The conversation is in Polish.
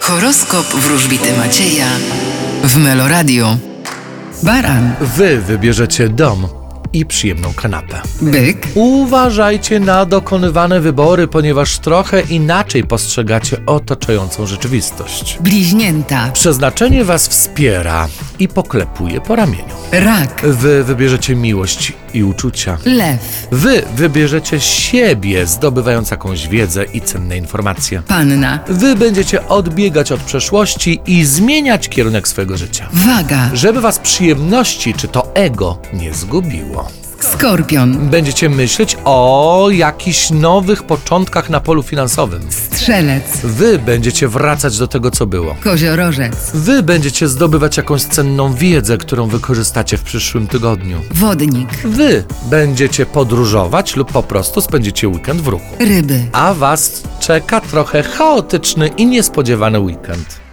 Horoskop wróżbity Macieja w Meloradio. Baran, Wy wybierzecie dom i przyjemną kanapę. byk, Uważajcie na dokonywane wybory, ponieważ trochę inaczej postrzegacie otaczającą rzeczywistość. bliźnięta, Przeznaczenie Was wspiera i poklepuje po ramieniu. rak, Wy wybierzecie miłość i uczucia. lew, Wy wybierzecie siebie, zdobywając jakąś wiedzę i cenne informacje. panna, Wy będziecie odbiegać od przeszłości i zmieniać kierunek swojego życia. waga, Żeby Was przyjemności czy to ego nie zgubiło. skorpion, Będziecie myśleć o jakichś nowych początkach na polu finansowym. strzelec, Wy będziecie wracać do tego, co było. koziorożec, Wy będziecie zdobywać jakąś cenną wiedzę, którą wykorzystacie w przyszłym tygodniu. wodnik, Wy będziecie podróżować lub po prostu spędzicie weekend w ruchu. ryby. A Was czeka trochę chaotyczny i niespodziewany weekend.